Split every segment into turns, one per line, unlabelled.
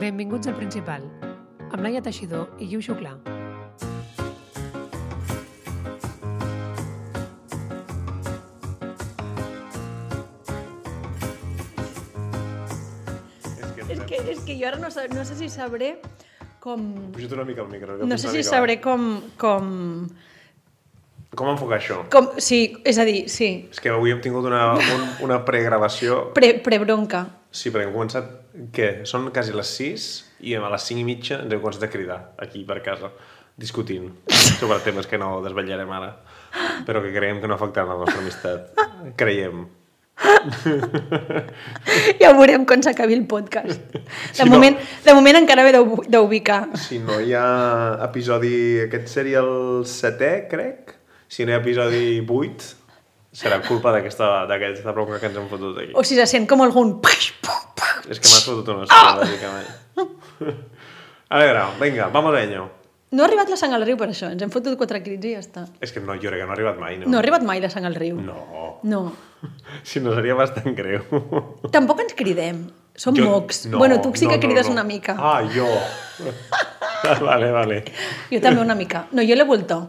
Benvinguts al Principal, amb Laia Teixidor i Guiu Xuclà.
És que,
És que, és que jo ara no, sab- no sé si sabré com...
Puja't una mica el micro. que
No
fins
sé
una
si
mica.
sabré com... Com...
Com enfocar això?
com sí, és a dir, sí.
És que avui hem tingut una, un, una pregravació.
Pre- Prebronca.
Sí, perquè hem començat... Què? Són quasi les 6 i a les 5 i mitja ens heu començat a cridar aquí per casa, discutint sobre temes que no desvetllarem ara, però que creiem que no afectaran la nostra amistat. Creiem.
ja veurem quan s'acabi el podcast.
Si
De,
no-
moment, de moment encara ve d'ub- d'ubicar.
Si no hi ha episodi... Aquest seria el setè, crec. Si no hi ha episodi 8, serà culpa d'aquesta d'aquesta bronca que ens hem fotut aquí.
O si se sent com algun... paix, pum, pum.
És que m'has fotut una hòstia, bàsicament. A veure, vinga, vamos a ello.
No ha arribat la sang al riu per això, ens hem fotut quatre crits i ja està.
És que no, jo crec que no ha arribat mai, no?
No ha arribat mai la sang al riu.
No.
No.
Si no, seria bastant greu.
Tampoc ens cridem. Som
Jo-
mocs. bueno, tu sí que crides una mica.
Ah, jo. vale, vale.
Jo també una mica. No, jo l'he voltat.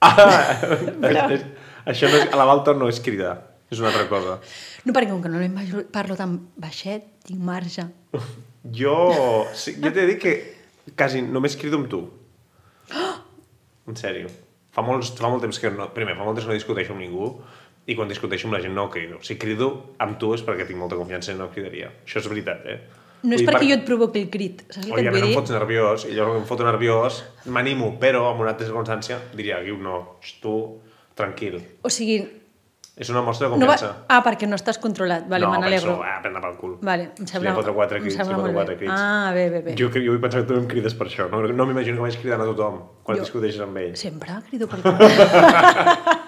Ah, és- això no és, a la Valtor no és cridar, és una altra cosa.
No, perquè com que no em parlo- parlo tan baixet, tinc marge.
Jo, sí, jo t'he de dir que quasi només crido amb tu. En sèrio. Fa, molts, fa molt temps que no... Primer, fa molt temps que no discuteixo amb ningú i quan discuteixo amb la gent no crido. Si crido amb tu és perquè tinc molta confiança i no cridaria. Això és veritat, eh?
No és
Vull dir,
perquè
per-
jo et provoqui el crit, saps el que et
Òbviament
vull
em
dir?
fots nerviós, i llavors quan em foto nerviós m'animo, però en una altra circumstància diria, Guiu, no, xt, tu, tranquil.
O sigui,
És una mostra de
no va...
confiança.
Ah, perquè no estàs controlat. Vale,
no,
me n'alegro.
penso, ah, prendre pel cul.
Vale, em sembla,
Si li fotre quatre
em
crits,
sembla
li fotre
molt
quatre
bé.
crits.
Ah, bé, bé, bé. Jo...
Jo, jo vull pensar que tu no em crides per això. No, no m'imagino que vagis cridant a tothom quan
Jo-
discuteixes amb ell.
Sempre crido per tot.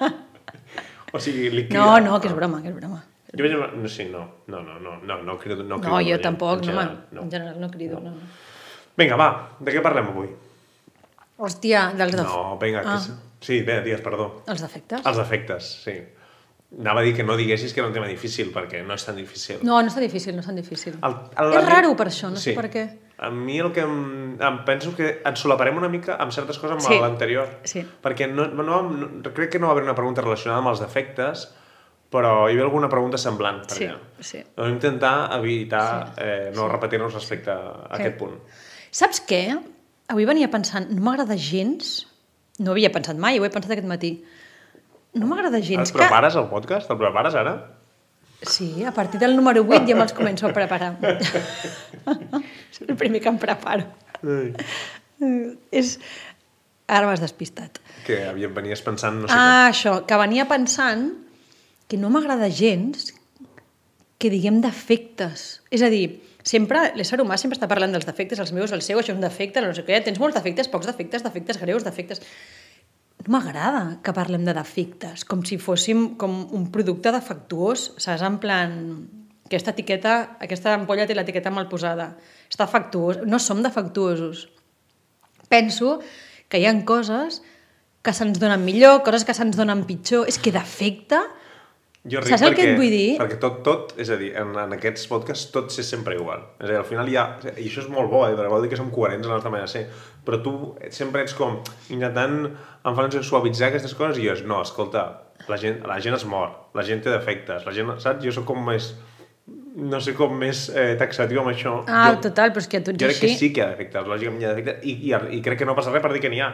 O sigui, li crida...
No, no, que és broma, que és broma.
Jo vaig... No, sí, no. No, no, no, no, no crido. No, crido
No,
amb
jo
ell,
tampoc,
en
no,
general,
no. en general no crido. No. no.
Vinga, va, de què parlem avui?
Hòstia, dels, def...
No, vinga, que...
Ah.
sí. Sí, bé, digues, perdó.
els defectes?
Els defectes, sí. Anava a dir que no diguessis que era un tema difícil, perquè no és tan difícil.
No, no és tan difícil, no és tan difícil.
El,
És raro per això, no sé per què.
A mi el que em, em penso que ens solaparem una mica amb certes coses amb
Sí.
l'anterior.
Sí.
Perquè no, no, vam- no, crec que no va haver una pregunta relacionada amb els defectes, però hi havia alguna pregunta semblant. Per
Sí,
allà.
sí.
Vam intentar evitar eh, no repetir-nos respecte a
Sí.
aquest punt.
Saps què? Avui venia pensant, no m'agrada gens, no havia pensat mai, ho he pensat aquest matí, no m'agrada
Et
gens que...
prepares el podcast? El prepares ara?
Sí, a partir del número 8 ja me'ls començo a preparar. és el primer que em preparo.
Ai.
És... Ara m'has despistat.
Que havien venies pensant no sé
Ah, això, que venia pensant que no m'agrada gens que diguem defectes. És a dir, sempre, l'ésser humà sempre està parlant dels defectes, els meus, el seu, això és un defecte, no sé què, tens molts defectes, pocs defectes, defectes greus, defectes... No m'agrada que parlem de defectes, com si fóssim com un producte defectuós, saps? En plan, aquesta etiqueta, aquesta ampolla té l'etiqueta mal posada. Està factuós. No som defectuosos penso que hi han coses que se'ns donen millor, coses que se'ns donen pitjor. És que defecte...
Jo ric
Saps el que et vull dir?
Perquè tot, tot, és a dir, en, en aquests podcasts tot és sempre igual. És a dir, al final hi ha... I això és molt bo, eh? Perquè vol dir que som coherents en la nostra manera de ser. Però tu sempre ets com intentant en fan suavitzar aquestes coses i jo és, no, escolta, la gent, la gent es mor, la gent té defectes, la gent, saps? Jo sóc com més... No sé com més eh, taxatiu amb això.
Ah,
jo,
total, però és que tu ets
jo crec
així.
que sí que hi ha defectes, lògicament hi ha defectes, i, i, i crec que no passa res per dir que n'hi ha.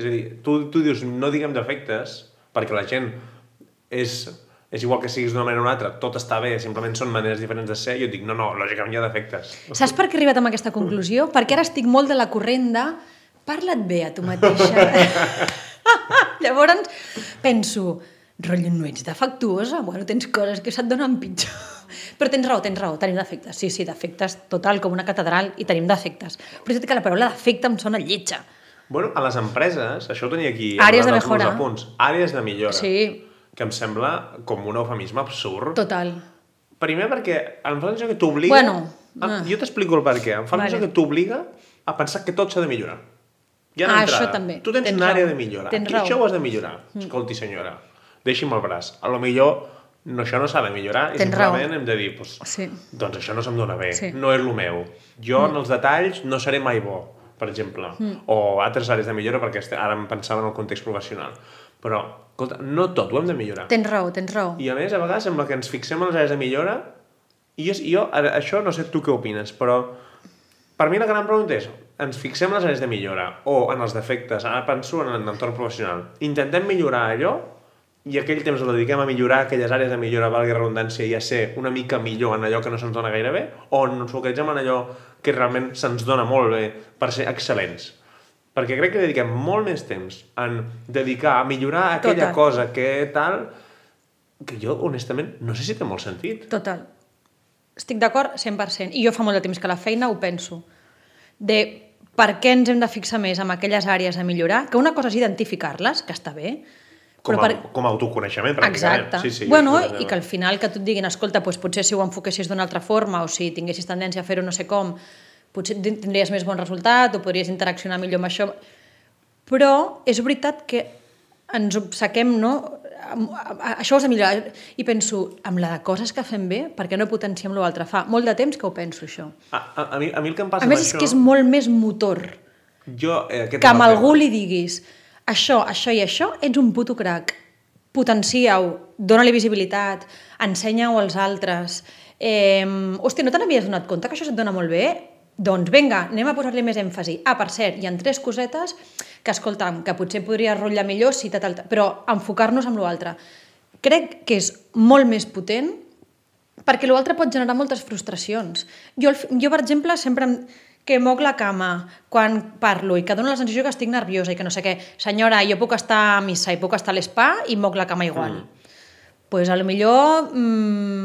És a dir, tu, tu dius, no diguem defectes, perquè la gent és, és igual que siguis d'una manera o una altra, tot està bé, simplement són maneres diferents de ser, i jo et dic, no, no, lògicament hi ha defectes.
Saps per què he arribat a aquesta conclusió? Perquè ara estic molt de la corrent de parla't bé a tu mateixa. Llavors penso, rotllo, no ets defectuosa? Bueno, tens coses que se't donen pitjor. Però tens raó, tens raó, tenim defectes. Sí, sí, defectes, total, com una catedral, i tenim defectes. Però és que la paraula defecte em sona lletja.
Bueno, a les empreses, això ho tenia aquí...
Àrees de
en els meus
millora.
Apunts, àrees de millora.
Sí.
Que em sembla com un eufemisme absurd.
Total.
Primer perquè em fa l'impressió que t'obliga...
Bueno,
a,
ah.
Jo t'explico el per què. Em fa l'impressió
Vale.
que t'obliga a pensar que tot s'ha de millorar. Ja
Ah,
d'entrada.
això també.
Tu tens,
Tens
una àrea
raó. Mm.
de millora.
Tens
Aquí,
raó.
Això ho has de millorar. Escolti, senyora, deixi'm el braç. A lo millor no, això no s'ha de millorar i
Tens raó.
simplement hem de dir pues,
Sí.
doncs això no se'm dona bé,
Sí. Mm.
no és el meu jo en els detalls no seré mai bo per exemple, mm. o altres àrees de millora perquè este- ara em pensava en el context professional però, escolta, no tot ho hem de millorar
Tens raó, tens raó.
i a més, a vegades sembla que ens fixem en les àrees de millora i jo, jo ara, això no sé tu què opines, però per mi la gran pregunta és ens fixem en les àrees de millora o en els defectes, ara penso en l'entorn professional. Intentem millorar allò i aquell temps el dediquem a millorar aquelles àrees de millora, valgui la redundància, i a ser una mica millor en allò que no se'ns dona gaire bé o ens focalitzem en allò que realment se'ns dona molt bé per ser excel·lents. Perquè crec que dediquem molt més temps en dedicar a millorar aquella
Total.
cosa que tal que jo, honestament, no sé si té molt sentit.
Total. Estic d'acord 100%. I jo fa molt de temps que a la feina ho penso. De per què ens hem de fixar més en aquelles àrees a millorar, que una cosa és identificar-les, que està bé,
Com,
però per...
a, com a autoconeixement, pràcticament.
Exacte.
Sí, sí,
bueno,
jo estic
i que al final que tu et diguin, escolta, doncs potser si ho enfoquessis d'una altra forma o si tinguessis tendència a fer-ho no sé com, potser tin- tindries més bon resultat o podries interaccionar millor amb això. Però és veritat que ens obsequem, no? Amb- a- a- Això has de millorar. I penso, amb la de coses que fem bé, per què no potenciem l'altre? Fa molt de temps que ho penso, això.
A, a, a, mi, a mi el que em passa
A més,
amb
és
això...
que és molt més motor
Jo, eh, aquest
que
és el
amb algú
tema.
li diguis això, això i això, ets un puto crac. Potencia-ho, dona-li visibilitat, ensenya-ho als altres. Eh, hòstia, no te n'havies donat compte que això se't dona molt bé? Doncs vinga, anem a posar-li més èmfasi. Ah, per cert, hi ha tres cosetes que, escolta'm, que potser podria rotllar millor si tal, tal, tal, però enfocar-nos en l'altre. Crec que és molt més potent perquè l'altre pot generar moltes frustracions. Jo, al fi- jo per exemple, sempre em- que moc la cama quan parlo i que dono la sensació que estic nerviosa i que no sé què, senyora, jo puc estar a missa i puc estar a l'espa i moc la cama igual. Mm. Pues a lo millor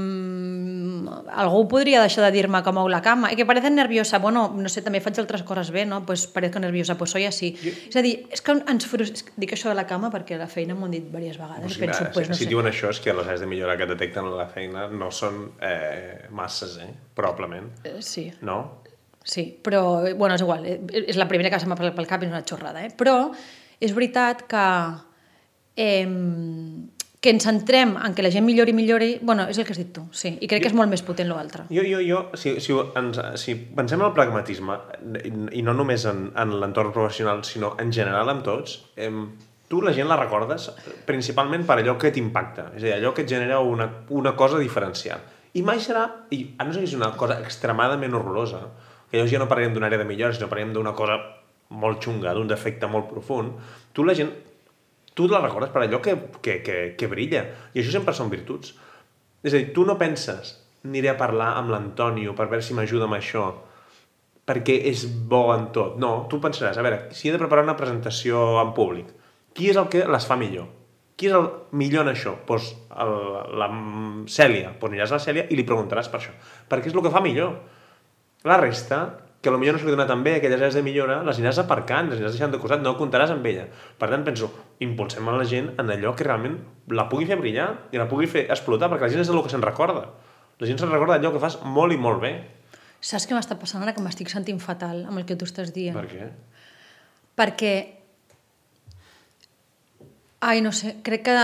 mmm, algú podria deixar de dir-me que moc la cama. I que parece nerviosa, bueno, no sé, també faig altres coses bé, no? Pues parezco nerviosa, pues soy así. Jo... És a dir, és que ens frustra... Dic això de la cama perquè a la feina m'ho han dit diverses vegades.
Pues,
i penso,
clar,
Doncs pues, no
si,
sé.
si diuen això és que les àrees de millora que detecten a la feina no són eh, masses, eh? Probablement.
Eh, Sí.
No?
Sí, però, eh, bueno, és igual, eh, és la primera que se m'ha pel, pel cap i és una xorrada, eh? Però és veritat que, eh, que ens centrem en que la gent millori, millori... bueno, és el que has dit tu, sí, i crec que és molt més potent l'altre.
Jo, jo, jo, si, si, ho- ens, si pensem en el pragmatisme, i, i no només en, en l'entorn professional, sinó en general amb tots, em, tu la gent la recordes principalment per allò que t'impacta, és a dir, allò que et genera una, una cosa diferencial. I mai serà, i a no ser que sigui una cosa extremadament horrorosa, que llavors ja no parlem d'una àrea de millora, sinó parlem d'una cosa molt xunga, d'un defecte molt profund, tu la gent, tu la recordes per allò que, que, que, que brilla. I això sempre són virtuts. És a dir, tu no penses aniré a parlar amb l'Antonio per veure si m'ajuda amb això perquè és bo en tot. No, tu pensaràs, a veure, si he de preparar una presentació en públic, qui és el que les fa millor? Qui és el millor en això? Doncs el, la mm, Cèlia. Doncs aniràs a la Cèlia i li preguntaràs per això. Perquè és el que fa millor. La resta, que potser no se li dona tan bé aquelles àrees de millora, les aniràs aparcant, les aniràs deixant de costat, no comptaràs amb ella. Per tant, penso, impulsem a la gent en allò que realment la pugui fer brillar i la pugui fer explotar, perquè la gent és del que se'n recorda. La gent se'n recorda d'allò que fas molt i molt bé.
Saps què m'està passant ara? Que m'estic sentint fatal amb el que tu estàs dient.
Per què?
perquè ai, no sé, crec que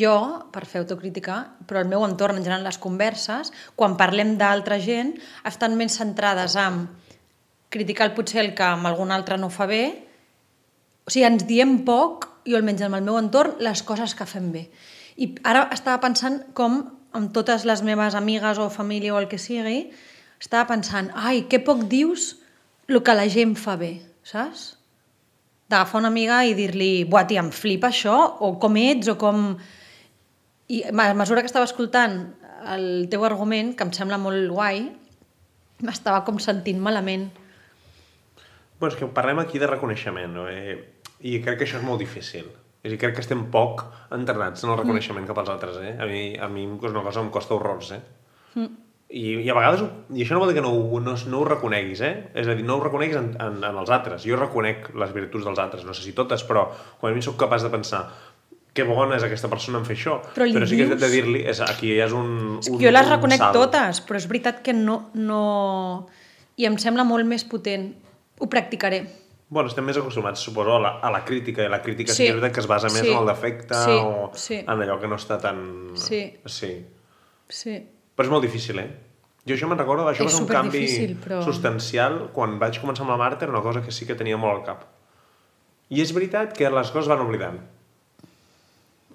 jo, per fer autocrítica, però el meu entorn, en general, les converses, quan parlem d'altra gent, estan més centrades en criticar el potser el que amb algun altre no fa bé, o sigui, ens diem poc, jo almenys en el meu entorn, les coses que fem bé. I ara estava pensant com amb totes les meves amigues o família o el que sigui, estava pensant, ai, que poc dius el que la gent fa bé, saps? D'agafar una amiga i dir-li, buah, tia, em flipa això, o com ets, o com... I a mesura que estava escoltant el teu argument, que em sembla molt guai, m'estava com sentint malament.
Bueno, és que parlem aquí de reconeixement, no? Eh, I crec que això és molt difícil. És a dir, crec que estem poc entrenats en el reconeixement mm. cap als altres, eh? A mi, a mi és una cosa que em costa horrors, eh? Mm. I, I a vegades, ho- i això no vol dir que no, ho- no, es- no ho reconeguis, eh? És a dir, no ho reconeguis en, en, en els altres. Jo reconec les virtuts dels altres, no sé si totes, però com a mi sóc capaç de pensar que bona és aquesta persona en fer això.
Però li
però sí que
dius-
he de dir-li, és- aquí ja és un,
És que
un
jo les
un
reconec
salt.
totes, però és veritat que no, no... I em sembla molt més potent. Ho practicaré.
Bueno, estem més acostumats, suposo, a la, a la crítica, i la crítica sí,
Sí.
que és veritat que es basa més
Sí.
en el defecte
Sí.
o
Sí.
en allò que no està tan...
Sí.
sí.
Sí.
Però és molt difícil, eh? Jo això me'n recordo, això
És
va ser un canvi
superdifícil, però-
substancial quan vaig començar amb la Marta, era una cosa que sí que tenia molt al cap. I és veritat que les coses van oblidant.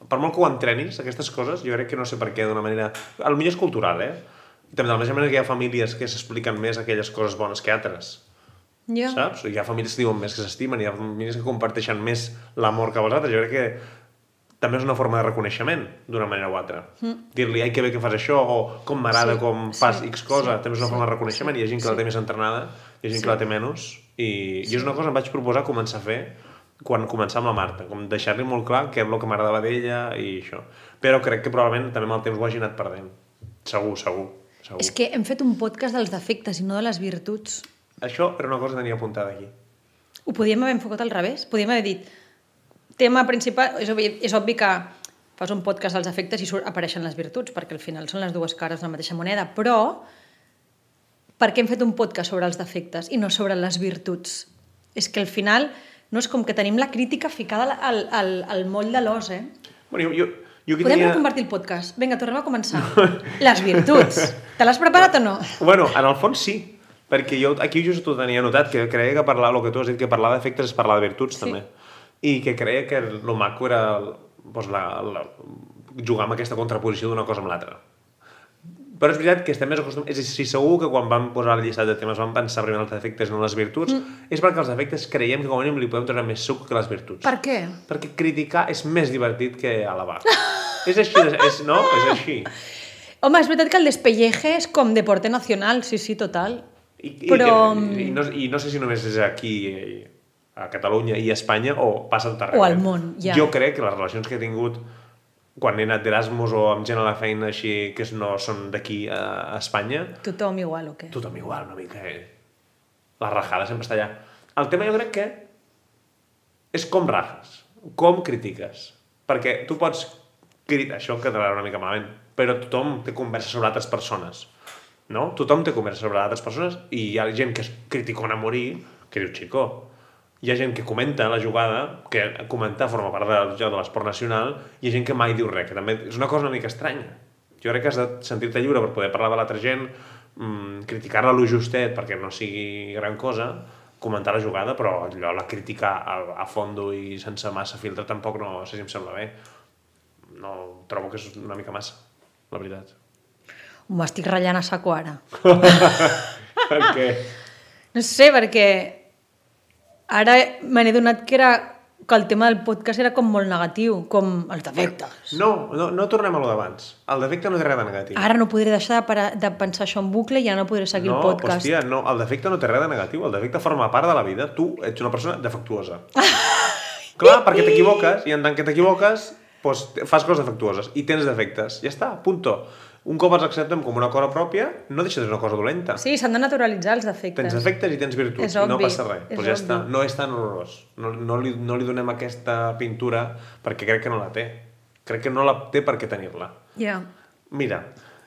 Per molt que ho entrenis, aquestes coses, jo crec que no sé per què, d'una manera... A lo millor és cultural, eh? I també de la mateixa manera que hi ha famílies que s'expliquen més aquelles coses bones que altres.
Ja.
Saps? Hi ha famílies que diuen més que s'estimen, hi ha famílies que comparteixen més l'amor que vosaltres. Jo crec que també és una forma de reconeixement, d'una manera o altra. Mm. Dir-li, ai, que bé que fas això, o com m'agrada,
Sí,
sí, com fas
sí,
sí, X cosa,
sí,
sí, també és una
sí,
sí, forma de reconeixement.
sí,
Sí, hi ha gent que
sí.
la té més entrenada, hi ha gent sí. que la té menys, i, sí. i és una cosa que em vaig proposar començar a fer quan començar amb la Marta, com deixar-li molt clar què és el que m'agradava d'ella i això. Però crec que probablement també amb el temps ho hagi anat perdent. Segur, segur. segur.
És que hem fet un podcast dels defectes i no de les virtuts.
Això era una cosa que tenia apuntada aquí.
Ho podíem haver enfocat al revés. Podíem haver dit, tema principal... És obvi, és obvi que fas un podcast dels efectes i surt, apareixen les virtuts, perquè al final són les dues cares de la mateixa moneda, però per què hem fet un podcast sobre els defectes i no sobre les virtuts? És que al final no és com que tenim la crítica ficada al, al, al moll de l'os, eh?
Bueno, jo, jo, jo aquí
Podem
tenia...
reconvertir el podcast. Vinga, tornem a començar. Les virtuts. Te l'has preparat o no?
Bueno, en el fons sí, perquè jo aquí just ho tenia notat, que creia que parlar, el que tu has dit, que parlar d'efectes és parlar de virtuts, sí.
Sí.
també. I que creia que el maco era doncs, la, la, jugar amb aquesta contraposició d'una cosa amb l'altra. Però és veritat que estem més acostumats... És a dir, si segur que quan vam posar el llistat de temes vam pensar primer en els defectes i no en les virtuts, mm. és perquè els defectes creiem que com a mínim li podem treure més suc que les virtuts.
Per què?
Perquè criticar és més divertit que alabar. és així, és, és, no? És així.
Home, és veritat que el despelleje és com deporte nacional, sí, sí, total.
I,
Però, mm,
i, i, no, I no sé si només és aquí eh, a Catalunya i a Espanya o passa a tot arreu.
O al
eh?
món, ja.
Jo crec que les relacions que he tingut quan he anat d'Erasmus o amb gent a la feina així que no són d'aquí eh, a Espanya,
Tothom igual o què?
tothom igual una mica. Eh? La rajada sempre està allà. El tema jo crec que és com rajes, com critiques. Perquè tu pots criticar, això em quedarà una mica malament, però tothom té conversa sobre altres persones. No? Tothom té conversa sobre altres persones i hi ha gent que es criticona a morir, que diu, xicó, hi ha gent que comenta la jugada, que comentar forma part del joc de l'esport nacional, i hi ha gent que mai diu res, que també és una cosa una mica estranya. Jo crec que has de sentir-te lliure per poder parlar de l'altra gent, mm, criticar-la lo justet perquè no sigui gran cosa, comentar la jugada, però allò, la crítica a, a fondo i sense massa filtre tampoc no sé si em sembla bé. No, trobo que és una mica massa, la veritat.
M'estic ratllant a saco ara.
perquè...
No sé, perquè ara me n'he donat que era que el tema del podcast era com molt negatiu, com els defectes.
No, no, no tornem a lo d'abans. El defecte no té res de negatiu.
Ara no podré deixar de, para, de pensar això en bucle i ja no podré seguir
no,
el podcast.
hòstia, no, el defecte no té res de negatiu, el defecte forma part de la vida. Tu ets una persona defectuosa. Clar, perquè t'equivoques, i en tant que t'equivoques, doncs, fas coses defectuoses i tens defectes. Ja està, punto. Un cop els acceptem com una cosa pròpia, no deixa de ser una cosa dolenta.
Sí, s'han de naturalitzar els defectes.
Tens defectes i tens virtuts,
És
i no
obvi,
passa res.
és
Doncs ja està,
obvi.
no és tan horrorós. No, no, li, no li donem aquesta pintura perquè crec que no la té. Crec que no la té per què tenir-la.
Ja.
Mira,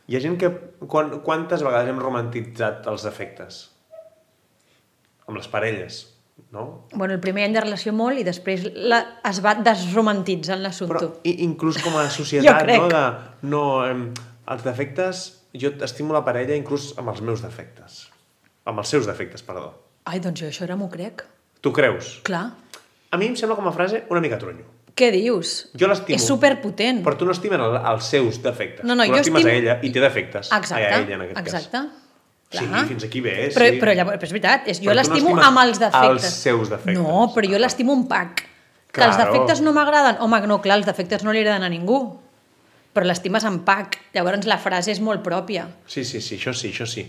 hi ha gent que... Quan, quantes vegades hem romantitzat els defectes? Amb les parelles, no?
Bueno, el primer any de relació molt i després la, es va desromantitzant l'assumpte.
Però i, inclús com a societat,
crec.
no? De, no em, els defectes... Jo estimo la parella inclús amb els meus defectes. Amb els seus defectes, perdó.
Ai, doncs jo això ara m'ho crec.
Tu creus?
Clar.
A mi em sembla com a frase una mica tronyo.
Què dius?
Jo l'estimo.
És superpotent.
Però tu no estimes el, els seus defectes.
No, no,
tu
jo
l'estimes
estimo-
a ella i té defectes.
Exacte.
A ella, en aquest
exacte.
cas. Sí,
Clar.
fins aquí bé, eh?
Però,
sí.
però, llavors, però és veritat, és, jo
Però tu no
l'estimo
estimes
amb els defectes.
els seus defectes.
No, però jo l'estimo un pack. Que els
Claro.
defectes no m'agraden. Home, no, clar, els defectes no li agraden a ningú. Però l'estimes en pack. Llavors la frase és molt pròpia.
Sí, sí, sí, això sí, això sí.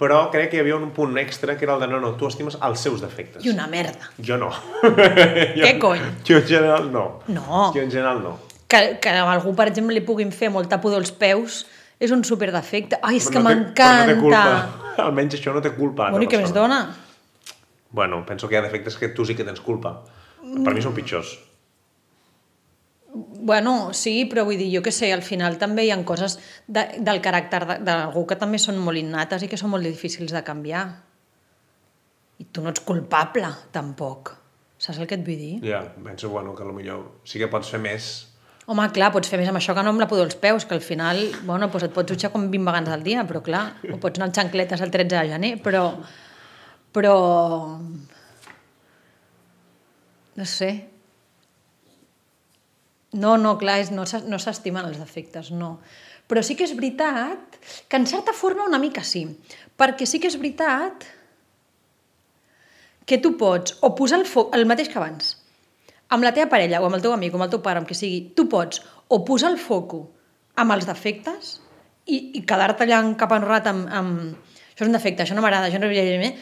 Però crec que hi havia un punt extra que era el de no, no, tu estimes els seus defectes.
I una merda.
Jo no.
Què cony?
Jo en general no.
No.
Jo en general no.
Que, que a algú, per exemple, li puguin fer molta pudor als peus és un superdefecte. Ai, és
Però
que
no té-
m'encanta.
però No té culpa. Almenys això no té culpa. a
bueno, i
l'altra
què més
persona.
dona?
Bueno, penso que hi ha defectes que tu sí que tens culpa. Per mi són pitjors.
Bueno, sí, però vull dir, jo que sé, al final també hi ha coses de, del caràcter de- d'algú que també són molt innates i que són molt difícils de canviar. I tu no ets culpable, tampoc. Saps el que et vull dir?
Ja, penso, bueno, que potser sí que pots fer més.
Home, clar, pots fer més amb això que no amb la pudor als peus, que al final, bueno, doncs et pots dutxar com 20 vegades al dia, però clar, o pots anar amb xancletes el 13 de gener, però... Però... No sé. No, no, clar, és, no s'es- no s'estimen els defectes, no. Però sí que és veritat que en certa forma una mica sí, perquè sí que és veritat que tu pots o posar el, fo el mateix que abans, amb la teva parella o amb el teu amic o amb el teu pare, amb qui sigui, tu pots o posar el foco amb els defectes i, i quedar-te allà cap enrat amb, amb... Això és un defecte, això no m'agrada, això no hauria de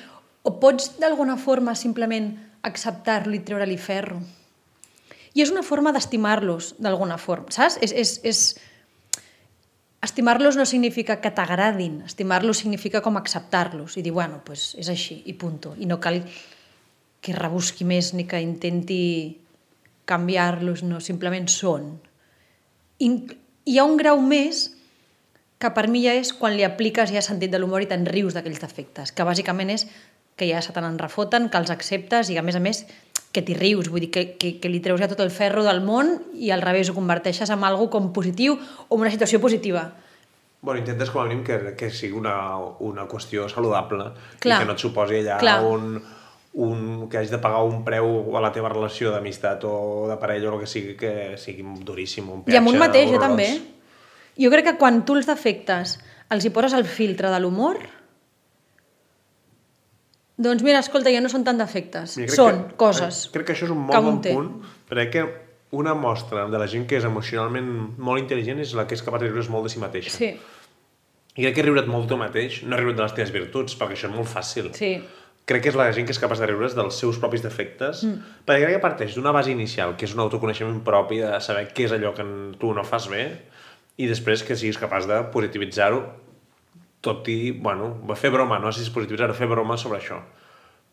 O pots d'alguna forma simplement acceptar-lo i treure-li ferro. I és una forma d'estimar-los d'alguna forma, saps? És, és, és... Estimar-los no significa que t'agradin, estimar-los significa com acceptar-los i dir, bueno, pues és així, i punto. I no cal que rebusqui més ni que intenti canviar-los, no, simplement són. I hi ha un grau més que per mi ja és quan li apliques ja sentit de l'humor i te'n rius d'aquells defectes, que bàsicament és que ja se te n'en refoten, que els acceptes i a més a més que t'hi rius, vull dir que, que, que li treus ja tot el ferro del món i al revés ho converteixes en algo com positiu o en una situació positiva.
Bueno, intentes com a mínim que, que sigui una, una qüestió saludable i
Clar.
que no et suposi allà
Clar.
un, un, que hagis de pagar un preu a la teva relació d'amistat o de parella o el que sigui, que sigui duríssim, un peatge.
I amb un mateix, jo
horrorós.
també. Jo crec que quan tu els defectes els hi poses el filtre de l'humor, doncs mira, escolta, ja no són tan defectes.
Mira, crec
Són
que-
coses.
eh, Crec que això és un
que
molt
un
bon
té.
punt, perquè una mostra de la gent que és emocionalment molt intel·ligent és la que és capaç de riure's molt de si mateixa.
Sí,
I crec que riure't molt tu mateix, no riure't de les teves virtuts, perquè això és molt fàcil.
sí.
Crec que és la gent que és capaç de riure's dels seus propis defectes, mm. perquè crec que parteix d'una base inicial, que és un autoconeixement propi de saber què és allò que en- tu no fas bé, i després que siguis capaç de positivitzar-ho, tot i, bueno, fer broma, no sé si és positivitzar fer broma sobre això.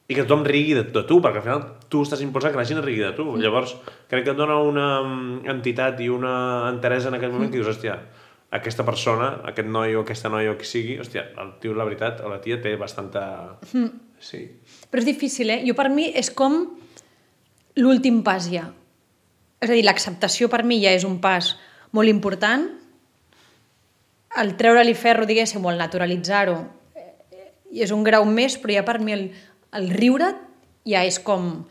I que tothom rigui de, de tu, perquè al final tu estàs impulsant que la gent rigui de tu. Mm. Llavors, crec que et dona una mm, entitat i una enteresa en aquell moment mm. que dius, hòstia, aquesta persona, aquest noi o aquesta noia o qui sigui, hòstia, el tio, la veritat, o la tia té bastanta... Mm. Sí.
Però és difícil, eh? Jo per mi és com l'últim pas ja. És a dir, l'acceptació per mi ja és un pas molt important. El treure-li ferro, diguéssim, o el naturalitzar-ho, eh, és un grau més, però ja per mi el, el riure ja és com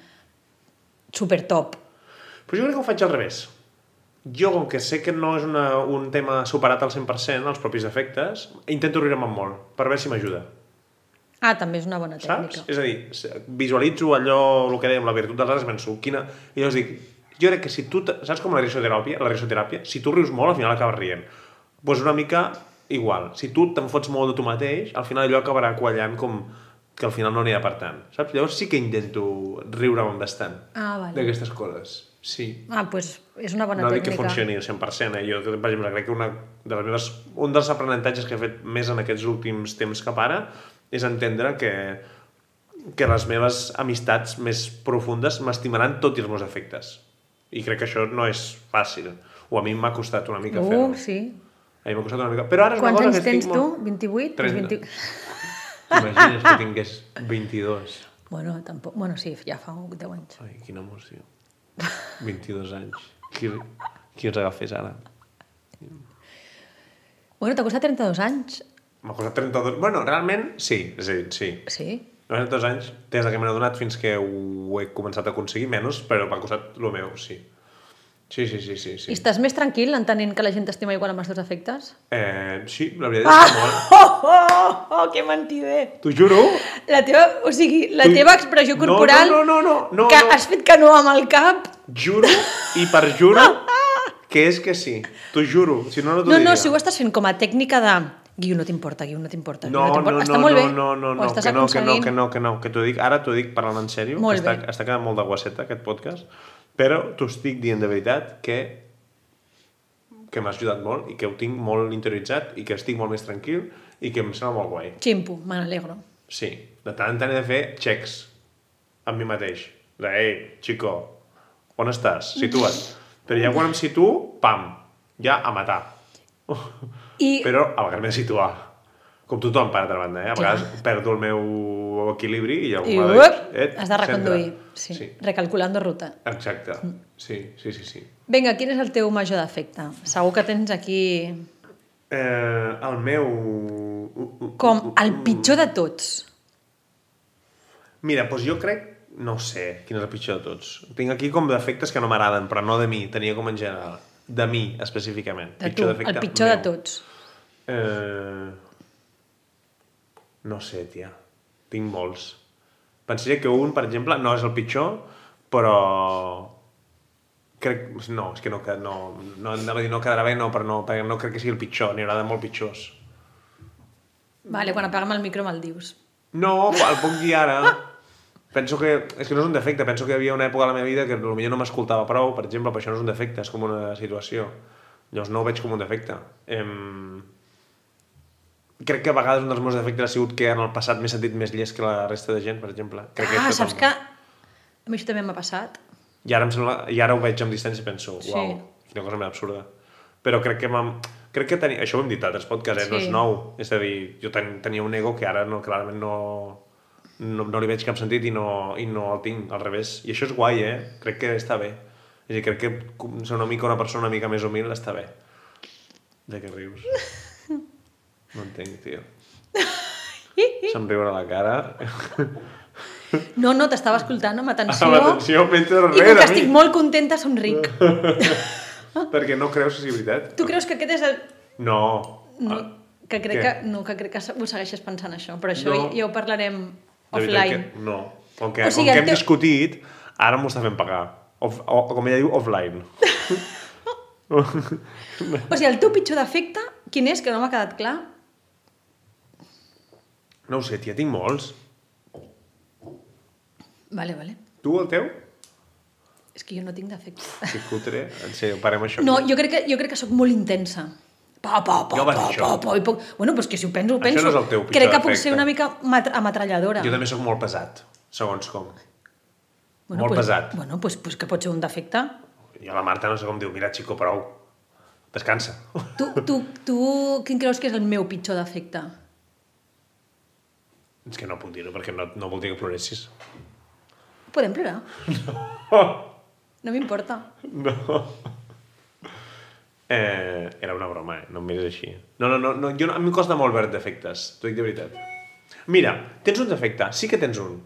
super top.
Però jo crec que ho faig al revés. Jo, com que sé que no és una, un tema superat al 100%, els propis efectes, intento riure-me'n molt, per veure si m'ajuda.
Ah, també és una bona
Saps?
tècnica.
És a dir, s- visualitzo allò, el que dèiem, la virtut dels altres, penso, quina... I llavors dic, jo crec que si tu... te- Saps com la risoteràpia? La risoteràpia, si tu rius molt, al final acabes rient. Doncs pues una mica igual. Si tu te'n fots molt de tu mateix, al final allò acabarà quallant com que al final no n'hi ha per tant. Saps? Llavors sí que intento riure-me'n bastant
Ah, vale.
d'aquestes coses. Sí
Ah, doncs és una bona
no dic
tècnica.
que funcioni al 100%, eh? jo per exemple crec que una de les meves, un dels aprenentatges que he fet més en aquests últims temps cap ara és entendre que que les meves amistats més profundes m'estimaran tot i els meus efectes i crec que això no és fàcil o a mi m'ha costat una mica fer-ho
Uh, sí.
a mi m'ha costat una mica però ara és
Quants
una cosa
anys
que
tens
estic
tu?
molt...
28?
30.
20...
imagines que tingués 22
Bueno, tampoc... bueno, sí, ja fa 10 anys.
ai, quina emoció 22 anys qui, qui els agafés ara?
Bueno, t'ha costat 32 anys.
M'ha costat 32... Bueno, realment, sí, és a dir, sí.
Sí.
No han estat dos anys, des que me n'he adonat fins que ho he començat a aconseguir menys, però m'ha costat el meu, sí. Sí, sí, sí, sí.
I
Sí,
estàs més tranquil entenent que la gent t'estima igual amb els teus efectes?
eh, sí la veritat és que molt.
Oh, oh, oh, que mentider!
T'ho juro!
La teva, o sigui, la
Tu-
teva expressió
No,
corporal
no, no, no, no,
que
no.
has fet que no amb el cap
Juro i perjuro que és que sí. T'ho juro, si no, no t'ho
no,
diria.
no, si ho estàs fent com a tècnica de Guiu, no t'importa, Guiu, no t'importa
no, no,
t'importa.
no,
Està
no,
molt
no,
bé
no, no,
Ho
no, que
estàs
no, que no,
aconseguint.
que no, que no, que t'ho dic, ara t'ho dic parlant en sèrio,
Molt
que està,
bé.
està quedant molt de guaceta aquest podcast, però t'ho estic dient de veritat que que m'has ajudat molt i que ho tinc molt interioritzat i que estic molt més tranquil i que em sembla molt guai.
Ximpo, me n'alegro
Sí, de tant en tant he de fer checks amb mi mateix. De, ei, xico, on estàs? Situa't. Però ja quan em situo, pam, ja a matar.
I
Però a vegades m'he de situar. Com tothom, per altra banda, eh? A
Clar.
vegades perdo el meu equilibri i algú
I
m'ha de dir,
uep,
"Ep,
has de reconduir.
centra".
Sí. Mm.
sí.
Recalculando ruta.
Exacte. Sí, sí, sí, sí.
Vinga, quin és el teu major defecte? Segur que tens aquí
Eh, el meu...
com el pitjor de tots.
Mira, doncs jo crec... No sé quin és el pitjor de tots. Tinc aquí com defectes que no m'agraden, però no de mi, tenia com en general. De mi, específicament.
De tu, el
defecte
pitjor de
meu.
tots.
Eh... No sé, tia. Tinc molts. Pensaria que un, per exemple, no és el pitjor, però... Crec... No, és que no, que- no, no, anava a dir no quedarà bé, no, però no, perquè no crec que sigui el pitjor, n'hi haurà de molt pitjors.
Vale, quan apaguem el micro me'l dius.
No, el puc dir ara. Penso que... És que no és un defecte. Penso que hi havia una època de la meva vida que potser no m'escoltava prou, per exemple, però això no és un defecte, és com una situació. Llavors no ho veig com un defecte. Em... Crec que a vegades un dels meus defectes ha sigut que en el passat m'he sentit més llest que la resta de gent, per exemple. Crec que
ah,
això
saps que
també.
a mi això també m'ha passat.
I ara, em sembla, I ara ho veig amb distància i penso,
Sí.
uau, quina cosa més absurda. Però crec que m'am... Crec que tenia... Això ho hem dit a altres podcasts, eh? no
Sí.
és nou. És a dir, jo ten... tenia un ego que ara no, clarament no... No, no li veig cap sentit i no, i no el tinc, al revés. I això és guai, eh? Crec que està bé. És a dir, crec que com- ser una mica una persona una mica més humil està bé. De què rius? No entenc, tio. Se'm riu a la cara.
No, no, t'estava escoltant amb atenció.
Amb atenció, mentre
I com
rere
que
a mi.
estic molt contenta, somric.
Perquè no creus que sigui veritat.
Tu creus que aquest és el...
No.
No,
Ah.
que
Què?
crec que, no, que crec que ho segueixes pensant això, però això
No.
ja, ja ho parlarem
De veritat
offline.
Que, no. Com que,
O
o sigui,
sigui,
com que
el
hem
teu-
discutit, ara m'ho està fent pagar. Off, o, o, com ella diu, offline.
O sigui, el teu pitjor defecte, quin és, que no m'ha quedat clar?
No ho sé, tia, tinc molts.
Vale, vale.
Tu, el teu?
És que jo no tinc defectes.
Que cutre. En sèrio, parem això.
No,
aquí.
jo crec que, jo crec que sóc molt intensa. Pa, pa, pa,
Jo vaig
pa,
dir
pa,
això.
pa, i poc... Bueno, però és que si ho penso, ho
Això
penso.
no és el teu pitjor
crec que puc
defecte.
ser una mica mat- ametralladora.
jo també sóc molt pesat, segons com. molt
pues,
pesat.
Bueno, doncs pues, pues que pot ser un defecte.
I a la Marta no sé com diu, mira, xico, prou. Descansa.
Tu, tu, tu, quin creus que és el meu pitjor defecte?
És que no puc dir-ho perquè no, no voldria que ploressis.
Podem plorar? No m'importa.
No. Eh, era una broma, eh? No em miris així. No, no, no, no jo, no- a mi em costa molt veure defectes, t'ho dic de veritat. Mira, tens un defecte, sí que tens un.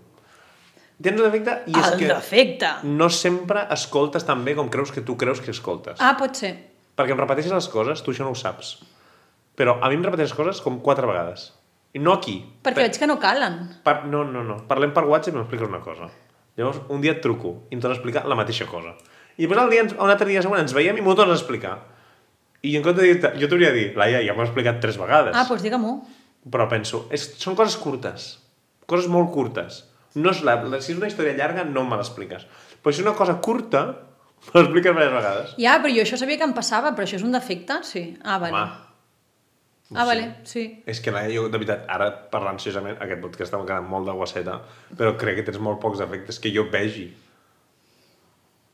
Tens un defecte i és
El
que
defecte!
no sempre escoltes tan bé com creus que tu creus que escoltes.
Ah, pot ser.
Perquè em repeteixes les coses, tu això no ho saps. Però a mi em repeteixes coses com quatre vegades. I no aquí.
Perquè veig que no calen.
Per... No, no, no. Parlem per WhatsApp i m'expliques una cosa. Llavors, un dia et truco i em tornes a explicar la mateixa cosa. I després el dia, ens- un altre dia següent ens veiem i m'ho tornes a explicar. I en compte de dir-te, jo t'hauria de dir, Laia, ja m'ho has explicat tres vegades.
Ah, doncs digue-m'ho.
Però penso, és, són coses curtes. Coses molt curtes. No és la, la, si és una història llarga, no me l'expliques. Però si és una cosa curta, me l'expliques diverses vegades.
Ja, però jo això sabia que em passava, però això és un defecte? Sí. Ah, vale.
no
ah,
sé.
vale, sí.
És que, Laia, jo, de veritat, ara parlant seriosament, aquest podcast estava quedant molt de guaceta, però crec que tens molt pocs defectes que jo vegi.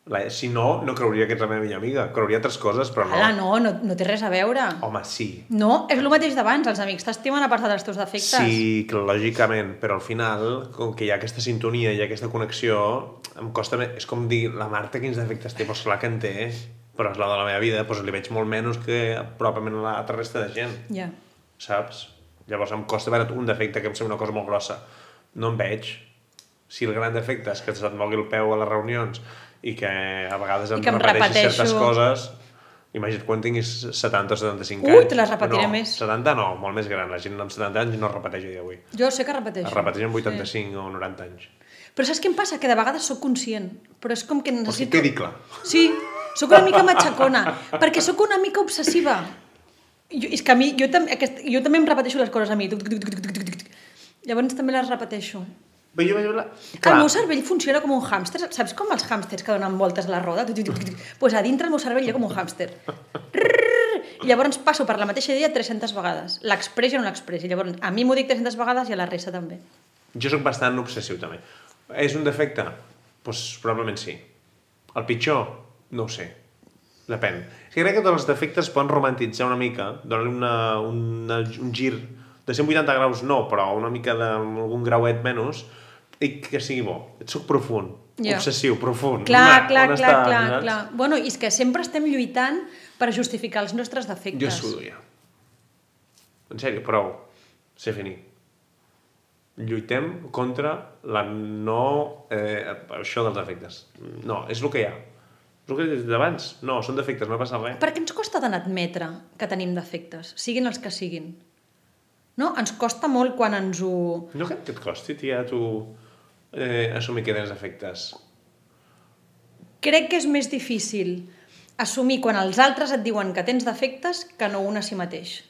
Laia, si no, no creuria que ets la meva millor amiga. Creuria altres coses, però no.
Ala, no, no, no té res a veure.
Home, sí.
No, és el mateix d'abans, els amics t'estimen a part dels teus defectes.
Sí, que lògicament, però al final, com que hi ha aquesta sintonia i aquesta connexió, em costa... me- És com dir, la Marta quins defectes té? Doncs clar que en té, però és la de la meva vida, doncs li veig molt menys que probablement a l'altra resta de gent.
Ja.
saps? Llavors em costa veure un defecte que em sembla una cosa molt grossa. No en veig. Si el gran defecte és que se't mogui el peu a les reunions i que a vegades em,
que em
repeteixis certes
repeteixo.
coses, imagina't quan tinguis 70 o 75
Ui,
anys.
Uh, te les repetiré
no,
més.
70 no, molt més gran. La gent amb 70 anys no es repeteix a dia d'avui.
Jo sé que repeteixo.
Es repeteix amb 85 sí. o 90 anys.
Però saps què em passa? Que de vegades sóc conscient, però és com que
O sigui,
necessito...
quedi clar.
Sí, sóc una mica matxacona, perquè sóc una mica obsessiva. Jo, és que a mi, jo, tam, aquest, jo també em repeteixo les coses a mi. Tuc, tuc, tuc, tuc, tuc, tuc, tuc. Llavors també les repeteixo.
Però jo veig la...
Clar. El meu cervell funciona com un hàmster. Saps com els hàmsters que donen voltes a la roda? Doncs pues a dintre el meu cervell hi ha com un hàmster. Rrrr. I llavors passo per la mateixa idea 300 vegades. L'expresso o no l'expresso. I Llavors a mi m'ho dic 300 vegades i a la resta també.
Jo sóc bastant obsessiu, també. És un defecte? Doncs probablement sí. El pitjor? No ho sé. Depèn. És que crec que tots els defectes es poden romantitzar una mica, donar-li una, una, un gir de 180 graus no, però una mica d'algun grauet menys, i que sigui bo. Et soc profund,
Ja.
yeah. obsessiu, profund.
Clar,
Una-
clar,
on
clar,
està,
clar,
saps?
clar. Bueno, i és que sempre estem lluitant per justificar els nostres defectes.
Jo sudo ja. En sèrio, prou. Se finí. Lluitem contra la no... Eh, això dels defectes. No, és el que hi ha. És el que he dit d'abans. No, són defectes, no ha passat res.
Per què ens costa tant admetre que tenim defectes, siguin els que siguin? No? Ens costa molt quan ens ho...
No crec que et costi, tia, tu eh, assumir que tens defectes.
Crec que és més difícil assumir quan els altres et diuen que tens defectes que no un a si mateix.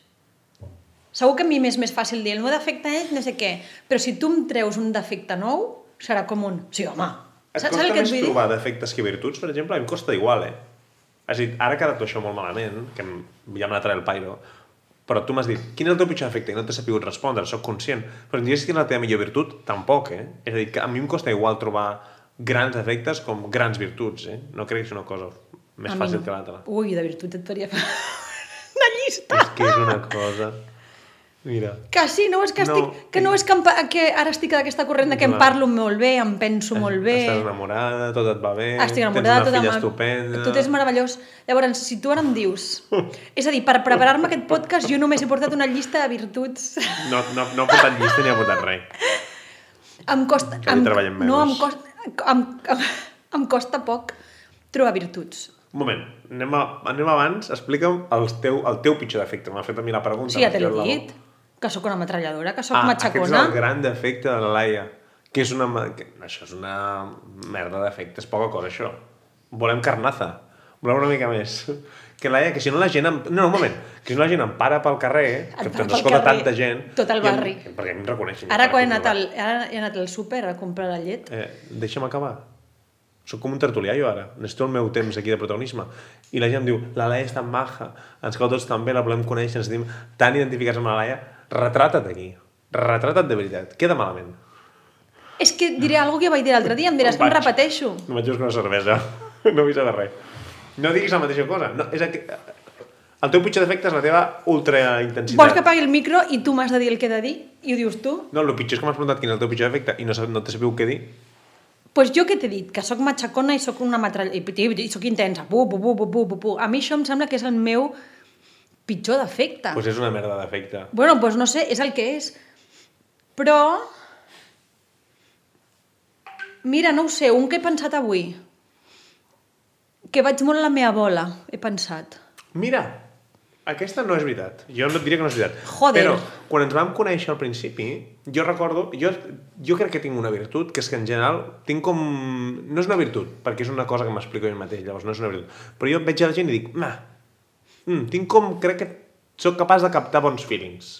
Segur que a mi m'és més fàcil dir el meu defecte és no sé què, però si tu em treus un defecte nou, serà com un... Sí, home.
Et
Saps
costa
el que et
més
vull dir?
trobar defectes que virtuts, per exemple? A mi em costa igual, eh? Has dit, ara ha quedat això molt malament, que em- ja me n'atrà el pairo, però tu m'has dit, quin és el teu pitjor defecte? I no t'he sabut respondre, sóc conscient. Però em diguessis quina és la teva millor virtut, tampoc, eh? És a dir, que a mi em costa igual trobar grans defectes com grans virtuts, eh? No crec que és una cosa més
A mi
fàcil
Ah, no.
que l'altra.
Ui, de virtut et faria una llista.
És que és una cosa... Mira.
Que sí, no és que,
No. eh.
estic, que no és que, em, pa- que ara estic d'aquesta corrent de que em
Clar.
parlo molt bé, em penso molt bé.
Estàs enamorada, tot et va bé,
Estic
Eh,
enamorada,
tens
tota
una filla
ama-
estupenda...
Tot és meravellós. Llavors, si tu ara em dius... És a dir, per preparar-me aquest podcast jo només he portat una llista de virtuts.
No, no, no ha portat llista ni ha portat res.
Em costa...
Que hi
em,
treballem
no, em
menys.
costa, em, em, em costa poc trobar virtuts.
Un moment, anem, a, anem abans, explica'm el teu, el teu pitjor defecte. M'ha fet a mi la pregunta.
Sí, ja te l'he
Laura.
dit. Que sóc una metralladora, que sóc
Ah, aquest és
matxacona.
el gran defecte de la Laia. Que és una... ma- Que, això és una merda de defecte, és poca cosa, això. Volem carnaza. Volem una mica més. Que Laia, que si no la gent... Em... No, un moment. Que si no la gent em para pel carrer,
para
que
pel
ens escolta
carrer.
tanta gent...
Tot
i
el
em-
barri.
perquè a mi em reconeixen.
Ara
encara
quan he
que
anat,
no
al, ara he anat al súper a comprar la llet,
Eh, deixa'm acabar. Soc com un tertulià jo ara. Necessito el meu temps aquí de protagonisme. I la gent em diu, la Laia és tan maja, ens cau tots tan bé, la volem conèixer, ens sentim tan identificats amb la Laia. Retrata't aquí. Retrata't de veritat. Queda malament.
És que diré alguna cosa que vaig dir l'altre dia, em diràs que em
Vaig.
repeteixo.
No vaig buscar una cervesa. No vull saber res. No diguis la mateixa cosa. No, és aqu... El teu pitjor defecte és la teva ultraintensitat.
Vols que apagui el micro i tu m'has de dir el que he de dir i ho dius tu?
No, el pitjor és que m'has preguntat quin és el teu pitjor defecte i no, sab- no te sabeu què dir.
Doncs pues jo que t'he dit, que sóc matxacona i sóc una matralla... I, i, i sóc intensa. Bu, bu, bu, bu, bu, bu, bu. A mi això em sembla que és el meu pitjor defecte.
Doncs pues és una merda de defecte.
Bueno, doncs pues no sé, és el que és. Però... Mira, no ho sé, un que he pensat avui. Que vaig molt a la meva bola, he pensat.
Mira, aquesta no és veritat. Jo no et diria que no és veritat.
Joder.
Però quan ens vam conèixer al principi, jo recordo... Jo, jo crec que tinc una virtut, que és que en general tinc com... No és una virtut, perquè és una cosa que m'explico jo mateix, llavors no és una virtut. Però jo veig a la gent i dic, ma, mm, tinc com... Crec que sóc capaç de captar bons feelings.